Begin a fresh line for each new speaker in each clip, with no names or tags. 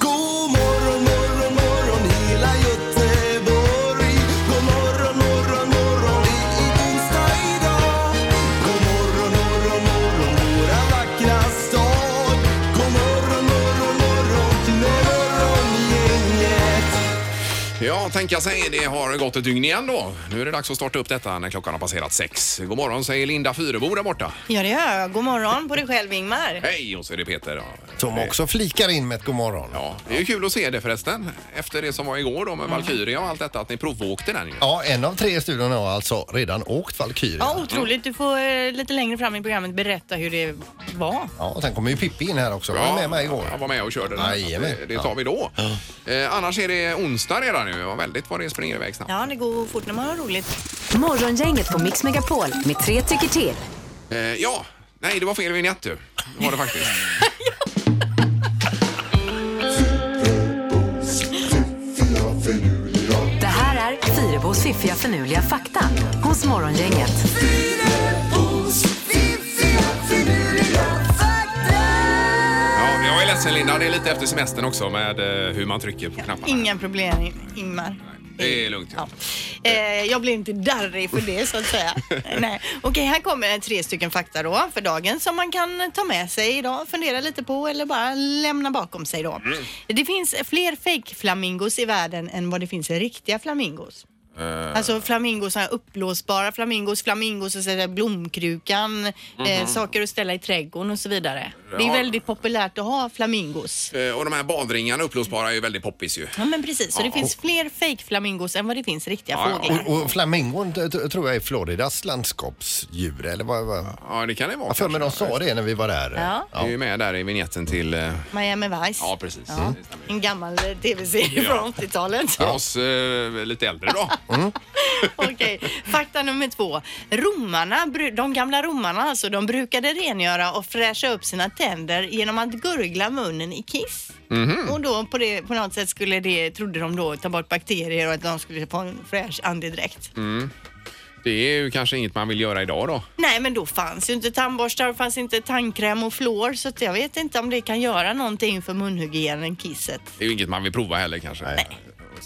God morgon, morgon, morgon hela Göteborg. God morgon, morgon, morgon det är onsdag idag. God morgon, morgon, morgon våra vackra stad. God morgon, morgon, morgon morgongänget.
Ja, tänka sig. Det har gått ett dygn igen då. Nu är det dags att starta upp detta när klockan har passerat sex. God morgon säger Linda Fyrebo där borta.
Ja det gör jag. God morgon på dig själv Ingmar.
Hej! Och så är det Peter. Ja.
Som också flikar in med ett god morgon.
Ja, det är ju kul att se det förresten. Efter det som var igår då med Valkyria och allt detta, att ni provåkte den ju.
Mm. Ja, en av tre i studion har alltså redan åkt Valkyria.
Ja, otroligt. Du får eh, lite längre fram i programmet berätta hur det var.
Ja, och sen kommer ju Pippi in här också. Han var med mig igår.
Jag var med och körde den.
Jajamän.
Det, det tar vi då. Eh, annars är det onsdag redan nu. Vad väldigt vad det springer iväg snabbt.
Ja, det går fort när man har roligt.
Morgongänget på Mix Megapol med tre tycker till.
Eh, ja, nej det var fel vinjett du. Det var det faktiskt.
Det här är Fyrabos fiffiga förnuliga fakta hos Morgongänget.
Ja, jag är ledsen Linda, det är lite efter semestern också med eh, hur man trycker på knapparna.
Inga problem Ingmar.
Det är lugnt.
Ja. Eh, jag blir inte darrig för det så att säga. Nej. Okej, här kommer tre stycken fakta då för dagen som man kan ta med sig idag, fundera lite på eller bara lämna bakom sig då.
Mm.
Det finns fler fake-flamingos i världen än vad det finns riktiga flamingos.
Eh.
Alltså flamingos, så här uppblåsbara flamingos, flamingos och så där blomkrukan, eh, saker att ställa i trädgården och så vidare. Det
Mhm. Ja.
är väldigt populärt att ha flamingos.
Eh, Och de här badringarna upplåsbara är ju väldigt poppis ju.
Ja men precis, så
Ja.
det finns fler fake-flamingos än vad det finns riktiga
Ja, ja.
fåglar.
Och, och flamingon t- t- tror jag är Floridas landskapsdjur. Eller vad, vad?
Ja, det kan det vara.
Jag för mig de
kanske.
sa det när vi var där.
Ja.
Det är ju med där i vignetten till... eh,
Miami Vice.
Ja, precis. Det stämmer.
En gammal eh,
Ja.
tv-serie från 80-talet.
För oss eh, lite äldre då.
Okej, fakta nummer två. Romarna, bru- de gamla romarna alltså, de brukade rengöra och fräscha upp sina tänder genom att gurgla munnen i kiss.
Mhm.
Och då på, det, på något sätt skulle det, trodde de då, ta bort bakterier och att de skulle få en fräsch andedräkt.
Det är ju kanske inget man vill göra idag då.
Nej, men då fanns ju inte tandborstar, det fanns inte tandkräm och fluor så att jag vet inte om det kan göra någonting för munhygienen, kisset.
Det är ju inget man vill prova heller kanske. Nej.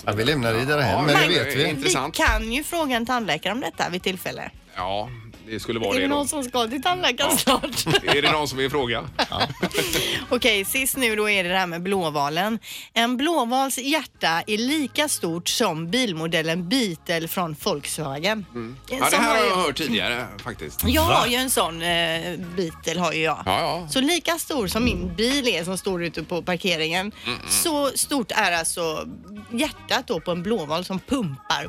Ja, vi lämnar det där hem, men
Ja,
det
men-
vet vi.
Intressant.
Vi kan ju fråga en tandläkare om detta vid tillfälle.
Ja, det skulle vara
är
det
det
då.
någon som ska till tandläkaren snart?
Är det någon som vill fråga?
Okej, sist nu då är det det här med blåvalen. En blåvals hjärta är lika stort som bilmodellen Beetle från Volkswagen.
Mm. Ja, det
Som
här har
ju-
jag hört tidigare faktiskt.
Jag har ju en sån eh, Beetle har ju jag.
Ja, ja.
Så lika stor som min bil är som står ute på parkeringen, så stort är alltså hjärtat då på en blåval som pumpar.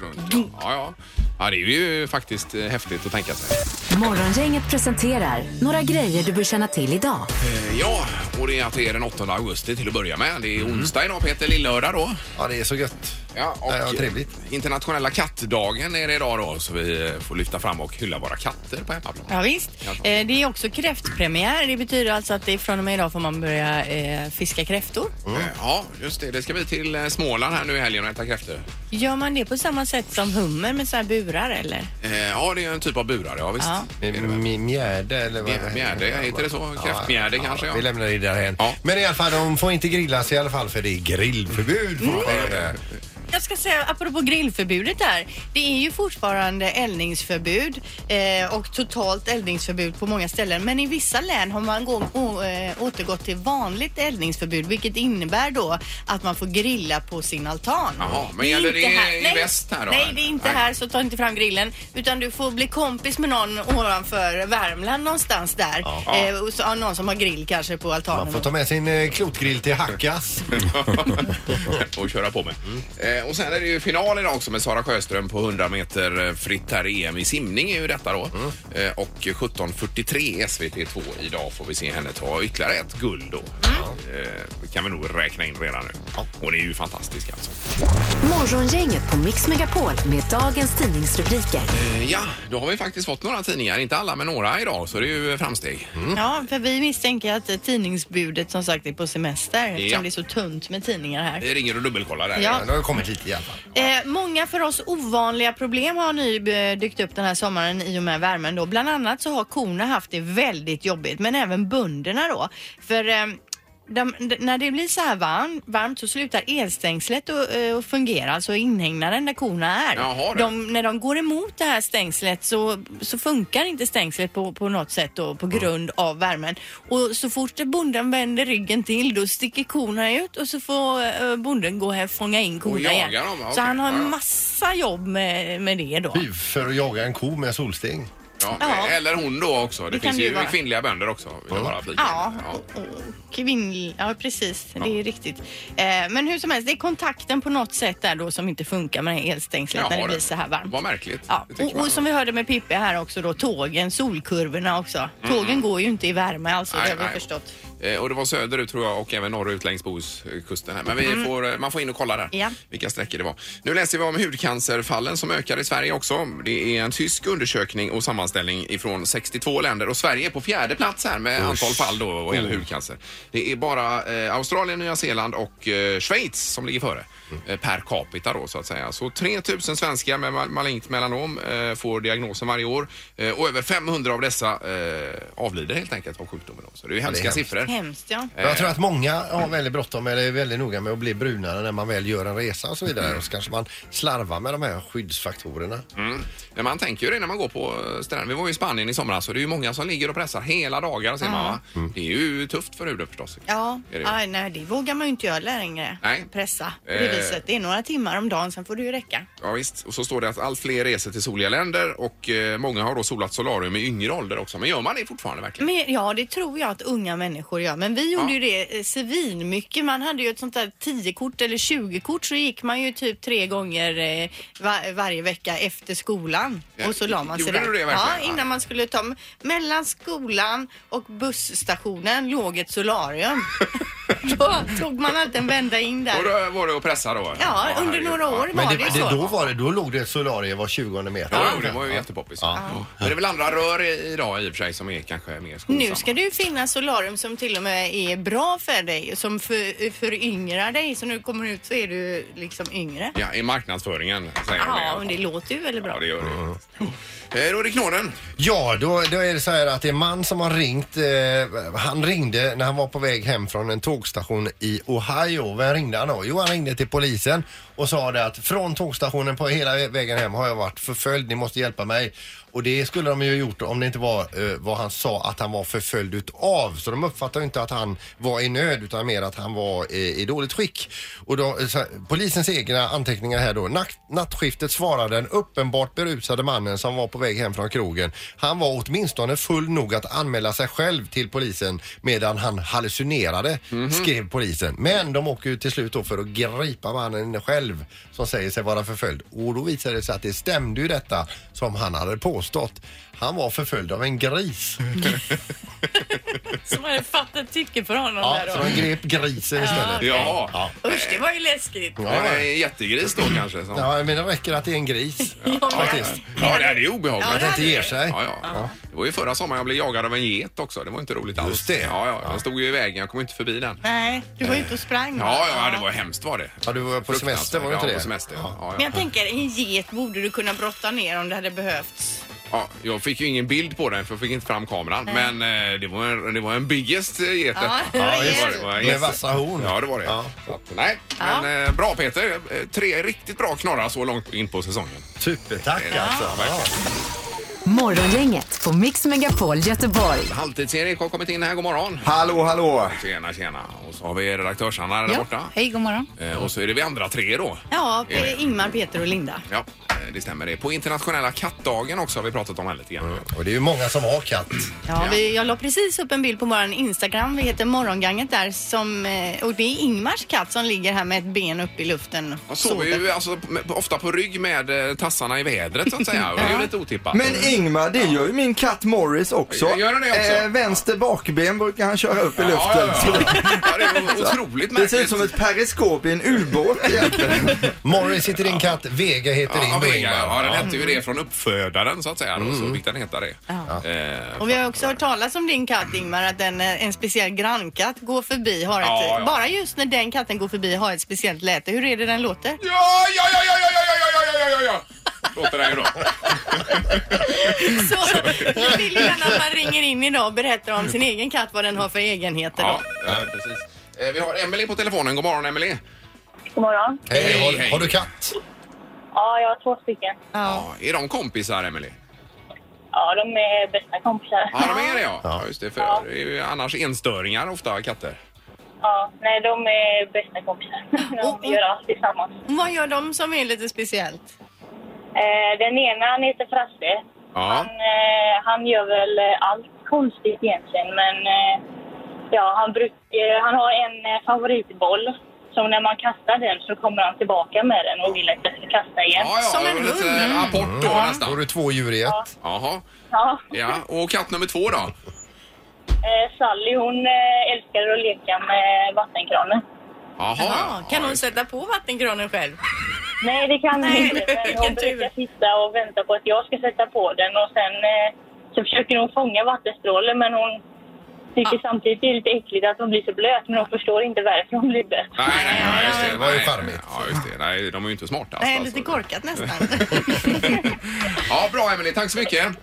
Runt. Ja, ja. Ja, det är ju faktiskt eh, häftigt att tänka sig.
Morgongänget presenterar några grejer du bör känna till idag.
Eh, Ja, och det är att det är den 8 augusti till att börja med. Det är onsdag idag Peter, lillördag då.
Ja, det är så gött.
Ja, och
Nej, vad trevligt.
internationella kattdagen är det idag då, så vi eh, får lyfta fram och hylla våra katter på hemmaplan.
Ja, visst. Eh, det är också kräftpremiär. Det betyder alltså att det är från och med idag får man börja eh, fiska kräftor.
Eh, Ja, just det. Det ska vi till eh, Småland här nu i helgen och äta kräftor.
Gör man det på samma sätt som hummer med så här burar eller?
Eh, Ja, det är en typ av burar, ja visst.
Ja.
Det är det väl.
Mi- Mjärde eller vad
Mjärde, heter det så? Kräftmjärde kanske, ja.
Vi lämnar det där hem.
Ja.
Men i alla fall, de får inte grillas i alla fall för det är grillförbud
Mm.
fortfarande.
Jag ska säga, apropå grillförbudet där. Det är ju fortfarande eldningsförbud eh, och totalt eldningsförbud på många ställen. Men i vissa län har man gå, å, eh, återgått till vanligt eldningsförbud vilket innebär då att man får grilla på sin altan.
Jaha, men
är
gäller
inte
det
här-
i
nej,
väst här då,
Nej,
eller?
det är inte
Nej.
här så ta inte fram grillen. Utan du får bli kompis med någon ovanför Värmland någonstans där. Eh, och så, ja, någon som har grill kanske på altanen.
Man får ta med sin eh, klotgrill till Hackas.
och köra på med. Eh, Eh, och sen är det ju final idag också med Sara Sjöström på 100 meter eh, fritt här i EM i simning är ju detta då. Eh, och 17.43 SVT2 idag får vi se henne ta ytterligare ett guld då. Eh, kan vi nog räkna in redan nu. Hon är ju fantastisk alltså.
Morgongänget på Mix Megapol med dagens tidningsrubriker.
Eh, ja, då har vi faktiskt fått några tidningar. Inte alla, men några idag. Så det är ju framsteg.
Ja, för vi misstänker att eh, tidningsbudet som sagt är på semester
Ja.
eftersom det är så tunt med tidningar här.
Vi ringer och dubbelkollar där.
Ja.
Ja, det har ju kommit lite i alla fall.
Eh, många för oss ovanliga problem har nu eh, dykt upp den här sommaren i och med värmen då. Bland annat så har korna haft det väldigt jobbigt, men även bönderna då. För eh, de, d- när det blir så här varm, varmt så slutar elstängslet att eh, att fungera, alltså inhägnaden där korna är.
Jaha, det.
de, när de går emot det här stängslet så, så funkar inte stängslet på, på något sätt då, på grund av värmen. Och så fort bonden vänder ryggen till då sticker korna ut och så får eh, bonden gå här och fånga in korna igen.
jaga dem, ja,
Så
okej.
han har
Ja, ja.
en massa jobb med, med det då.
Fy, För att jaga en ko med solsting.
Ja,
Ja.
Eller hon då också. Det,
Det
finns
kan
ju
ju vara.
kvinnliga bönder också. vill jag bara flika in.
Ja,
Ja.
och- och kvinnlig... Ja, precis. Det är riktigt. Eh, men hur som helst, det är kontakten på något sätt där då som inte funkar med det här elstängslet
Ja,
när det
det-
blir så här varmt.
vad märkligt.
Ja,
Det tycker
och,
man.
och som vi hörde med Pippi här också då, tågen, solkurvorna också. Tågen går ju inte i värme alltså,
Mm. Nej,
det har
nej.
vi förstått.
Eh, Och det var söderut tror jag och även norrut längs Bohuskusten. Här. Men vi får, eh, man får in och kolla där
Ja.
vilka sträckor det var. Nu läser vi om hudcancerfallen som ökar i Sverige också. Det är en tysk undersökning och sammanställning ifrån 62 länder och Sverige är på fjärde plats här med antal fall då vad gäller hudcancer. Det är bara eh, Australien, Nya Zeeland och eh, Schweiz som ligger före eh, per capita då så att säga. Så 3000 svenskar med mal- malignt melanom eh, får diagnosen varje år eh, och över 500 av dessa eh, avlider helt enkelt av sjukdomen. Då. Så det är ju hemska
hemskt.
siffror.
Hemskt ja.
Eh,
Men Jag tror att många har väldigt bråttom eller är väldigt noga med att bli brunare när man väl gör en resa och så vidare. Och så kanske man slarvar med de här skyddsfaktorerna.
Mm. Men man tänker ju det när man går på ställen. Vi var ju i Spanien i somras och det är ju många som ligger och pressar hela dagar ser man va? Det är ju tufft för huden förstås.
Mm. Ja,
Är det ju.
aj, nej det vågar man ju inte göra längre.
Nej.
Pressa på det
Eh.
viset. Det är några timmar om dagen, sen får det ju räcka.
Ja, visst. Och så står det att allt fler reser till soliga länder och eh, många har då solat solarium i yngre ålder också. Men gör man det fortfarande verkligen?
Men, ja, det tror jag att unga människor gör. Men vi gjorde ju det eh, svinmycket. mycket. Man hade ju ett sånt där 10-kort eller 20-kort så gick man ju typ tre gånger eh, va- varje vecka efter skolan.
Ja,
Och så la man sig
gjorde
där.
du det
ja,
verkligen? Ja.
innan man skulle ta... Mellan skolan och busstationen låg ett solarium. Då tog man alltid en vända in
Och
där.
då var det att pressa då?
Ja, under
herregud.
några
Ja.
år
Men
var
det,
det, ju
det,
så.
då var det, då låg det ett solarium var 20 meter.
Ja, jo, det var ju jättepoppis. Ja. Men det är väl andra rör i- idag i och för sig som är kanske mer skonsamma.
Nu ska det ju finnas solarium som till och med är bra för dig, som för, föryngrar dig. Så nu kommer du ut så är du liksom yngre.
Ja, i marknadsföringen säger de i alla
Ja, men
fall.
det låter ju väldigt bra.
Ja, det gör det. Eh, Då är det knorren.
Ja, då, då är det så här att det är en man som har ringt. Eh, han ringde när han var på väg hem från en tågstation i Ohio. Vem ringde han då? Jo, han ringde till polisen och sa det att från tågstationen på hela vägen hem har jag varit förföljd. Ni måste hjälpa mig. Och det skulle de ju ha gjort om det inte var eh, vad han sa att han var förföljd utav. Så de uppfattar ju inte att han var i nöd utan mer att han var eh, i dåligt skick. Och då, eh, så, här, polisens egna anteckningar här då. Natt, nattskiftet svarade den uppenbart berusade mannen som var på väg hem från krogen. Han var åtminstone full nog att anmäla sig själv till polisen medan han hallucinerade, skrev polisen. Men de åker ju till slut då för att gripa mannen själv som säger sig vara förföljd. Och då visade det sig att det stämde ju detta som han hade påstått. Han var förföljd av en gris.
Som hade fattat tycke för honom
Ja,
där
så
då.
de grep grisen istället.
Ja. ja.
Usch, det var ju läskigt.
Ja,
Det är
ja.
en jättegris då kanske. Som...
Ja, men det räcker att det är en gris. Faktiskt.
Ja, det här är ju obehagligt.
Att det inte ger sig.
Ja, ja. Det var ju förra sommaren jag blev jagad av en get också. Det var inte roligt alls.
Just det.
Ja, ja. Den stod ju i vägen. Jag kom inte förbi den.
Nej, du var ute och sprang. va?
Ja, ja, det var hemskt var det.
Ja, du var på
Fruktansvärt.
semester, var det inte
ja,
det?
på semester. Ja. Ja,
Men
ja.
jag tänker, en get borde du kunna brotta ner om det hade behövts.
Ja, jag fick ju ingen bild på den för jag fick inte fram kameran. Men eh, det var en, det var en biggest eh, get detta.
det var
det
en
var
get.
det var en
Med
get.
vassa horn.
Ja, det var det.
Ja.
Så att, nej, men eh, bra Peter. Eh, Tre riktigt bra knorrar så långt in på säsongen.
Supertack alltså. Ja.
Morgongänget på Mix Megapol Göteborg.
Halvtids-Erik har kommit in här. God morgon.
Hallå, hallå!
Tjena, tjena. Och så har vi redaktörs-Anna där borta.
Hej, god morgon.
Eh, Och så är det vi andra tre då.
Ja, Ingmar, Peter och Linda.
Ja, eh, det stämmer det. På internationella kattdagen också har vi pratat om här lite grann.
Och det är ju många som har katt.
Ja, vi, jag la precis upp en bild på vår Instagram. Vi heter Morgonganget där. Som, eh, och det är Ingmars katt som ligger här med ett ben upp i luften.
Man sover ju alltså, med- ofta på rygg med eh, tassarna i vädret så att säga. Och det är ju lite otippat.
Men Ingmar, det gör ju min katt Morris också. Eh,
Gör den det också?
vänster bakben brukar han köra upp i luften.
Ja,
Så
ja, ja. ja, det är otroligt
Det ser
märkligt.
ut som ett periskop i en ubåt egentligen.
Morris heter din katt, Vega heter
Ja,
din
Vega,
då, Ingmar.
ja, Mm. den hette ju det från uppfödaren så att säga. Och så fick den heta det. Eh,
Och vi har också hört talas om din katt Ingmar, att en, en speciell grannkatt går förbi. Har ett,
Ja, ja.
Bara just när den katten går förbi har ett speciellt läte. Hur är det den låter?
Ja, ja, ja, ja, ja, ja, ja, ja, ja, ja, ja, ja. Låter den ju då.
Så jag vill gärna att man ringer in idag och berättar om sin egen katt, vad den har för egenheter.
Ja,
Ja.
ja, precis. Eh, Vi har Emelie på telefonen. God morgon Emelie.
God morgon.
Hej,
Hej,
har,
hej.
har du katt?
Ja, jag har två stycken.
Ja, är de kompisar Emelie?
Ja, de är bästa kompisar.
Ja, de är det ja. ja just det, för det är ju annars enstöringar ofta katter.
Ja, nej, de är bästa kompisar.
Och-
De gör allt tillsammans.
Vad gör de som är lite speciellt?
Eh, Den ena, han heter Frasse.
Ja.
Han, eh, han gör väl eh, allt konstigt egentligen, men eh, ja, han, bruk, eh, han har en eh, favoritboll. Så när man kastar den så kommer han tillbaka med den och vill att jag ska kasta igen.
Ja, ja,
Som
det
en
var lite
hund. Mm.
apport då
Då har
nästan.
du två djur i ett.
Jaha.
Ja,
Ja, och katt nummer två då?
eh, Sally hon eh, älskar att leka med vattenkranen.
Jaha.
Jaha, kan
ja,
hon sätta på vattenkranen själv?
Nej, det kan hon
Nej,
inte. Men hon
vilken tur.
brukar sitta och vänta på att jag ska sätta på den och sen eh, så försöker hon fånga vattenstrålen men hon tycker samtidigt det är lite äckligt att hon blir så blöt men hon förstår inte varför hon blir blöt.
Nej, nej, nej, just det.
Det var ju
Nej,
charmigt.
Ja, just det. Nej, de är ju inte smarta.
Nej,
alltså.
lite korkat nästan.
Ja, bra Emelie. Tack så mycket.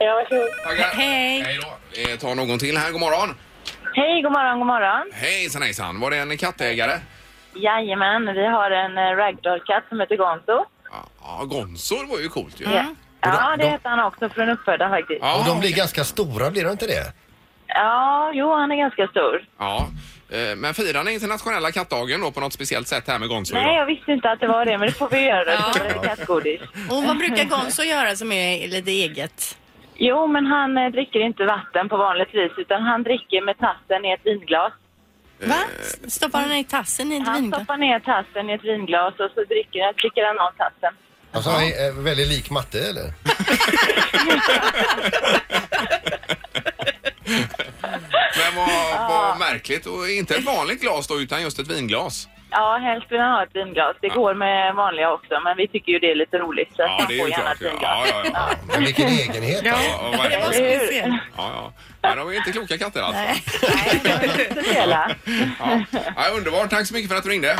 Ja, varsågod.
Tackar.
Hej.
Hej då. Vi tar någon till här. God morgon.
Hej, god morgon, god morgon.
Hejsan hejsan. Var det en kattägare?
Jajamän, vi har en eh, ragdollkatt som heter Gonzo.
Ja, Ja, Gonzo var ju coolt ju.
Mm.
Ja. Ja, det heter han också från uppfödaren faktiskt.
Ja,
Och de blir ganska stora, blir de inte det?
Ja, jo, han är ganska stor.
ja. Eh, Men firar ni internationella kattdagen då på något speciellt sätt här med Gonzo
Nej,
idag?
jag visste inte att det var det, men det får vi göra. Det kommer lite kattgodis.
Och vad brukar Gonzo göra som är lite eget?
Jo, men han eh, dricker inte vatten på vanligt vis utan han dricker med tassen i ett vinglas.
Va? Stoppar han i tassen i ett
Han
vinglas?
stoppar ner tassen i ett vinglas och så dricker, dricker han av tassen.
Alltså, han är eh, väldigt lik matte, eller?
Men vad, vad märkligt. Och inte ett vanligt glas då, utan just ett vinglas.
Ja, helst vill han ha ett vinglas. Det går med vanliga också, men vi tycker ju det är lite roligt så att
Ja,
han
det är
får
ju
gärna
klart.
ett
Ja,
vinglas.
ja, ja. ja.
Men vilken egenhet. alltså.
Ja, vad är
Det var
det?
speciellt.
Ja, ja. Nej, de är inte kloka katter alltså.
Nej.
Nej, det var inte så hela.
Ja. Ja, underbart. Tack så mycket för att du ringde.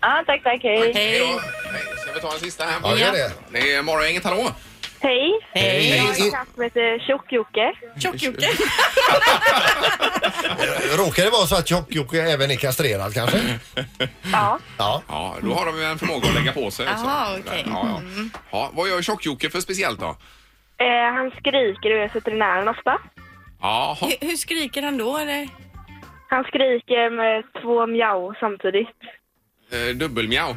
Ja, tack, tack, hej.
Hej då. Hej. Ska vi ta en sista här?
Ja, gör det.
Det är morgongänget, hallå!
Hej.
Hej.
Jag har en katt som heter Tjock-Jocke.
Tjock-Jocke.
Råkar det vara så att Jokk-Jocke även är kastrerad kanske?
Ja.
Ja.
Ja, då har de ju en förmåga att lägga på sig också.
Jaha, okej.
Ja,
Mm.
ja. Ja, vad gör tjock för speciellt då?
Eh, han skriker och är veterinären ofta.
Jaha.
Hur, hur skriker han då? Eller?
Han skriker med två mjau samtidigt.
Eh, dubbelmjau.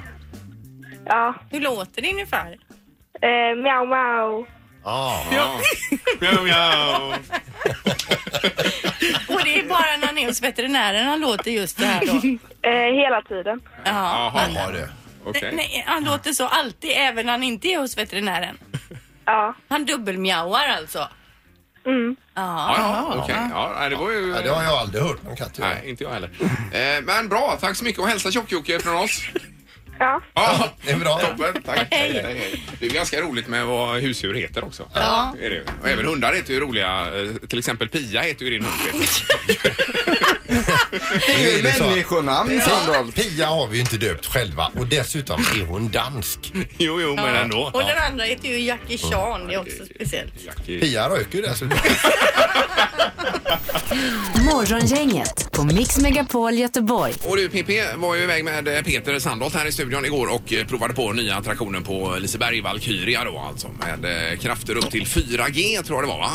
Ja.
Hur låter det ungefär?
Eh, mjau, mjau.
ja.
Ja. Mjau, mjau.
Och det är bara när han är hos veterinären han låter just det här då?
Eh, hela tiden.
Ja.
Jaha.
Ja, det.
Okej.
Nej, han låter så alltid även när han inte är hos veterinären.
Ja.
Han dubbelmjauar alltså?
Mm.
Ja,
Ja.
ja, okej. Ja, nej, det var ju...
Ja, det har jag aldrig hört någon katt göra.
Nej, inte jag heller. Eh, men bra, tack så mycket och hälsa tjock från oss.
Ja.
Ja,
Det är bra.
toppen. Tack. Hej, hej, hej. Det är ganska roligt med vad husdjur heter också. Ja. Är det. ju. Och även hundar heter ju roliga. eh, Till exempel Pia heter ju din hund. Peter.
Det är ju
Det är så.
människonamn, Sandholt.
Pia har vi ju inte döpt själva och dessutom är hon dansk.
Jo, jo, men ändå.
Och den andra heter ju Jackie Chan, det är också speciellt.
Pia röker ju dessutom.
Morgongänget på Mix Megapol Göteborg.
Och du PP var ju iväg med eh, Peter Sandholt här i studion igår och eh, provade på nya attraktionen på Liseberg Valkyria då alltså med eh, krafter upp till 4G tror jag det var va?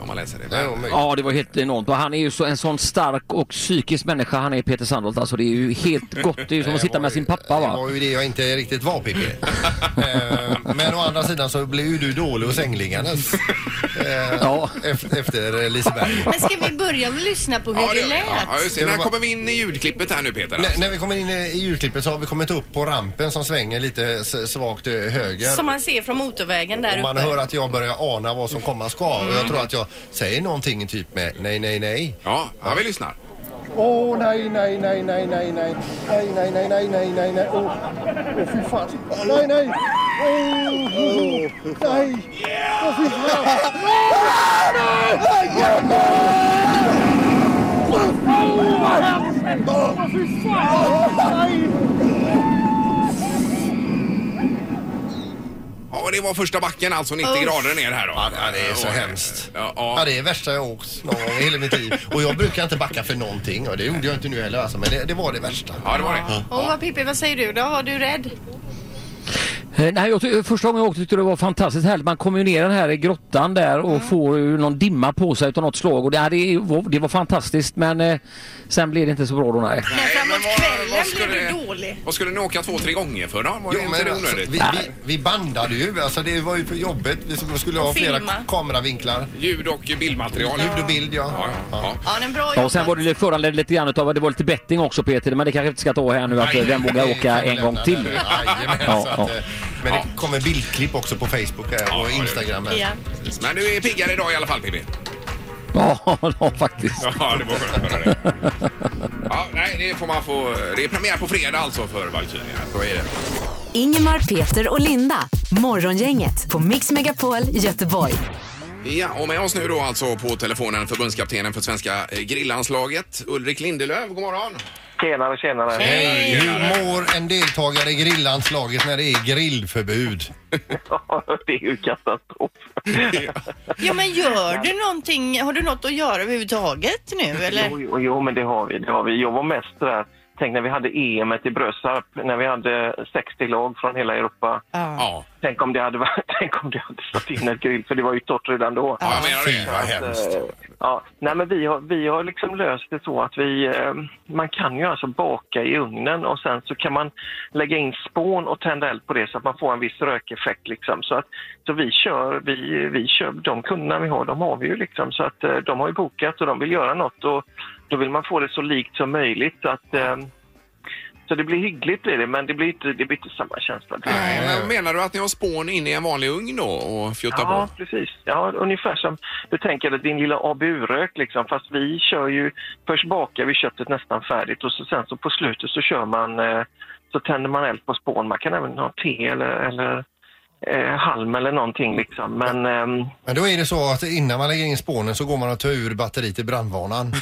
om man läser det.
Det är nog möjligt.
Ja, det var helt enormt. Och han är ju så, en sån stark och psykisk människa, han är Peter Sandholt. Alltså det är ju helt gott. Det är ju som att sitta med sin pappa
Det
va.
var ju det jag inte riktigt var Pippi. Eh, Men å andra sidan så blev ju du dålig hos Änglingarnas. eh,
Ja.
ef- Efter Liseberg.
Men ska vi börja med att lyssna på hur
Ja, det
det
gör vi.
lät?
Ja, ja, just det.
Det var
När
bara-
kommer vi in i ljudklippet här nu Peter?
När,
Alltså?
när vi kommer in i i julklippet så har vi kommit upp på rampen som svänger lite s- svagt eh, höger.
Som man ser från motorvägen där
Och man
uppe.
hör att jag börjar ana vad som komma ska. Och jag tror att jag säger någonting typ med nej, nej, nej.
Ja, ja, vi lyssnar.
Åh nej, nej, nej, nej, nej, nej. Nej, nej, nej, nej, nej, nej, nej. Åh, åh fy fan. Nej, nej. Åh, åh, nej. Åh, fy fan.
Ja, och det var första backen alltså 90 grader ner här då.
Ja, det är så
Och-
hemskt.
Ja,
Ja,
ja.
det är det värsta jag har åkt någon gång i hela mitt liv. Och jag brukar inte backa för någonting och det gjorde jag inte nu heller alltså. Men det, det var det värsta.
ja det var det.
Åh, vad Pippi, vad säger du då? Har du rädd?
Eh, Nej, jag, ty- första gången jag åkte tyckte jag det var fantastiskt härligt. Man kommer ju ner den här i grottan där och får ju någon dimma på sig utav något slag. Och det, ja, det, var, det var fantastiskt men eh, sen blev det inte så bra då nej.
Men framåt
vad-
kvällen
vad
blev
skulle-
du dålig.
Vad skulle ni åka två, tre gånger för då? Var
Jo,
det inte
men
det
alltså, vi,
onödigt?
vi, vi bandade ju. Alltså, det var ju för jobbigt. Vi skulle- skulle ha
Och
flera
filma.
kameravinklar.
Ljud och bildmaterial.
Ljud och bild, ja.
Ja, ja.
Ja, den bra
Ja, och sen var det lite- föranledde lite grann utav att det var lite betting också Peter. Men det kanske vi inte ska ta här nu att eh, vem vågar
Vi
åka
kan
en
lämna
gång
den.
till.
Jajamän,
Ja,
så att,
ja.
eh, Men det kommer bildklipp också på Facebook eh, och Instagram. här.
Ja.
Men du är piggare idag i alla fall Pippi.
Ja, ja faktiskt.
Ja, det var skönt att höra det. Ja, nej, det får man få. Det är premiär på fredag alltså för Valkyria. Så är det.
Ingemar, Peter och Linda. Morgongänget på Mix Megapol Göteborg.
Ja, och med oss nu då alltså på telefonen förbundskaptenen för svenska eh, grillanslaget Ulrik Lindelöf. God morgon!
Tjenare, tjenare.
Hej! Hur mår en deltagare i grillanslaget när det är grillförbud?
det är ju katastrof.
Ja, men gör du någonting? Har du något att göra överhuvudtaget nu eller?
Jo, jo, jo, men det har vi. Det har vi. Jag var mest där. Tänk när vi hade EM i Brösarp, när vi hade 60 lag från hela Europa.
Ja.
Ja,
Tänk om det hade, varit- tänk om det hade stått in ett grill, för det var ju torrt redan då.
ja jag menar
Fy
det.
vad hemskt.
Eh, Ja, nej men vi har, vi har liksom löst det så att vi, eh, man kan ju alltså baka i ugnen och sen så kan man lägga in spån och tända eld på det så att man får en viss rökeffekt liksom. Så, att, så vi kör, vi, vi kör, de kunderna vi har, de har vi ju liksom så att eh, de har ju bokat och de vill göra något och då vill man få det så likt som möjligt så att eh, så det blir hyggligt blir det, men det blir inte, det blir inte samma känsla.
Nej, men menar du att ni har spån inne i en vanlig ugn då och fjuttar
Ja,
på?
precis. Ja, ungefär som du tänker dig din lilla ABU-rök liksom. Fast vi kör ju, först bakar vi köttet nästan färdigt och så, sen så på slutet så kör man, eh, så tänder man eld på spån. Man kan även ha te eller, eller eh, halm eller någonting liksom. Men ehm,
Men då är det så att innan man lägger in spånen så går man och tar ur batteriet i brandvarnaren.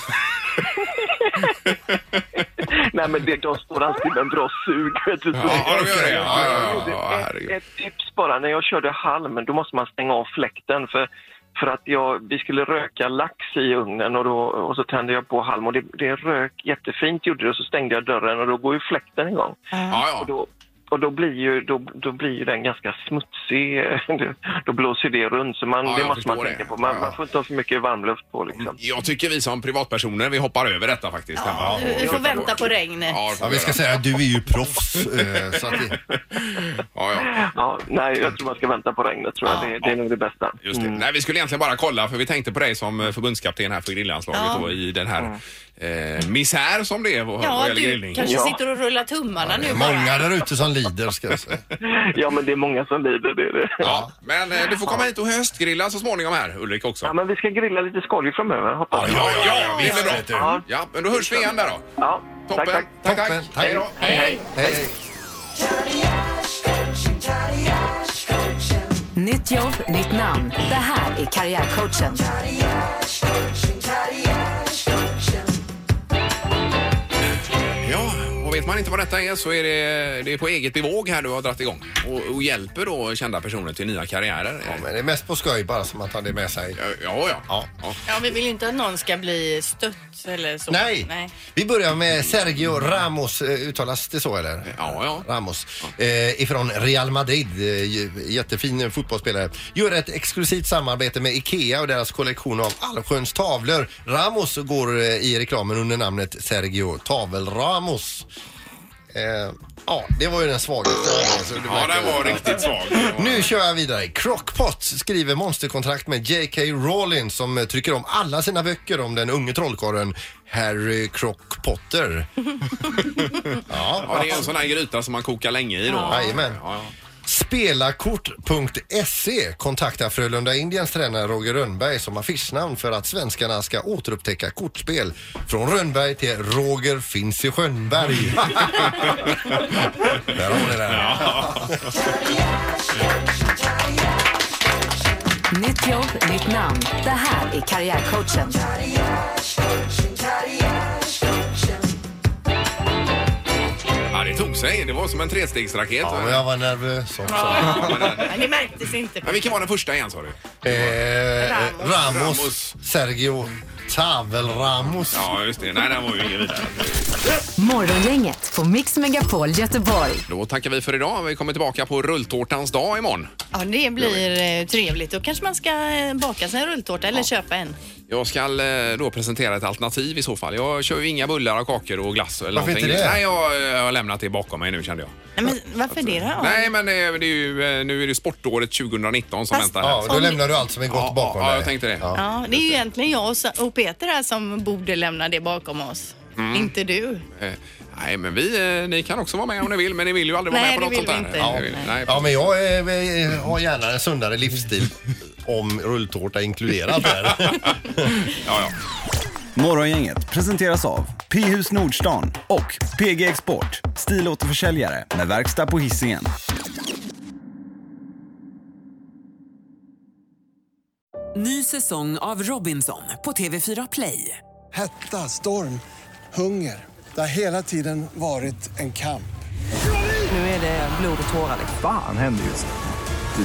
nej men det, de står alltid med en bra sug vet du. Så
Ja,
det-
de gör det. Ja, ja, ja, ja,
Ett,
herregud.
ett tips bara, när jag körde halm då måste man stänga av fläkten för, för att jag, vi skulle röka lax i ugnen och, då, och så tände jag på halm och det, det rök jättefint gjorde det och så stängde jag dörren och då går ju fläkten igång.
Ja,
Och,
ja.
då, och då, blir ju, då, då blir ju den ganska smutsig, då blåser det runt så man,
Ja, jag
det måste man
förstår det.
tänka på. Man,
Ja. Mm,
man får inte ha för mycket varmluft på liksom.
Jag tycker vi som privatpersoner, vi hoppar över detta faktiskt. hemma.
du- du får vänta på regnet.
Ja, det
Ja,
får
vi ska
göra.
säga att du är ju proffs. eh, Så att det,
ja, ja.
Ja, nej, jag tror man ska vänta på regnet tror jag. Det, det är nog det bästa. Mm.
Just det. Nej, vi skulle egentligen bara kolla, för vi tänkte på dig som eh, förbundskapten här för grillanslaget
Ja.
då, i den här eh, misär som det är vad, vad
Ja,
gäller
du
grillning.
kanske
Ja.
sitter och rullar tummarna nu bara.
många där ute som lider ska jag säga.
Ja, men det är många som lider. Det är det.
Ja, men eh, du får komma hit och höstgrilla så småningom här, Ulrik också.
Ja, men vi ska grilla lite skoj framöver, hoppas jag.
Ja, ja, ja, det
visst,
blir
vet du.
bra. Ja, men då hörs vi igen där då.
Ja,
Toppen.
tack, tack.
tack.
Toppen. Tack.
Hej då. Hej, hej.
Hej.
Nytt jobb, nytt namn. Det här är Karriärcoachen.
Ja, och vet Vet man inte vad detta är så är det, det är på eget bevåg här du har dragit igång och, och hjälper då kända personer till nya karriärer. Ja,
men det är mest på skoj bara som att han är med sig.
Ja, ja.
ja.
Ja, vi vill ju inte att någon ska bli stött eller så.
Nej. Vi börjar med Sergio Ramos, eh, uttalas det så eller?
Ja, ja.
Ramos. Eh, ifrån Real Madrid, eh, j- jättefin eh, fotbollsspelare. Gör ett exklusivt samarbete med IKEA och deras kollektion av allsköns tavlor. Ramos går eh, i reklamen under namnet Sergio Tavel-Ramos. Eh, ja, det var ju den svagaste. Så det
Ja, den var riktigt svag.
nu kör jag vidare. Crockpot skriver monsterkontrakt med J.K. Rowling som eh, trycker om alla sina böcker om den unge trollkarlen Harry Crockpotter. ja.
Ja, det är en sån här gryta som man kokar länge i då.
Jajamän.
Ja,
Spelarkort.se E kontaktar Frölunda Indiens tränare Roger Rönnberg som affischnamn för att svenskarna ska återupptäcka kortspel. Från Rönnberg till Roger finns i Schönberg. där har ni den.
Nytt jobb, nytt namn. Det här är Karriärcoachen.
ja, det tog sig. Det var som en trestegsraket.
Ja, men jag var nervös också.
Men det märktes inte.
Men vilken var den första igen sa du?
Eh,
Ramos.
Ramos, Sergio Tavel Ramos.
Ja, just det. Nej, den var ju ingen vidare.
Morgongänget på Mix Megapol Göteborg.
Då tackar vi för idag. Vi kommer tillbaka på rulltårtans dag imorgon.
Ja, det blir eh, trevligt. Då kanske man ska eh, baka sig en rulltårta eller köpa en.
Jag ska eh, då presentera ett alternativ i så fall. Jag kör ju inga bullar och kakor och glass eller
Varför
någonting.
inte det?
Nej, jag, eh, har lämnat det bakom mig nu kände jag.
Nej, men varför det då?
Nej, men eh, det är ju, eh, nu är det sportåret 2019 som
Fast-
väntar.
Ja, då lämnar
du allt som är gott
ja,
bakom
Ja,
dig.
jag tänkte det.
Ja, det är ju egentligen jag och, Sa- och Peter här som borde lämna det bakom oss.
Mm.
Inte du.
Eh, Nej, men vi, eh, ni kan också vara med om ni vill, men ni vill ju aldrig vara
Nej,
med på
det
något sånt
vill vi
där.
inte.
Ja,
Nej.
nej.
Ja, men jag eh, eh, har gärna en sundare livsstil om rulltårta inkluderat där.
Morgongänget presenteras av P-hus Nordstan och PG Export, stilåterförsäljare med verkstad på Hisingen.
Ny säsong av Robinson på TV4 Play.
Hetta, storm, hunger. Det har hela tiden varit en kamp.
Nu är det blod och tårar.
Fan händer just det.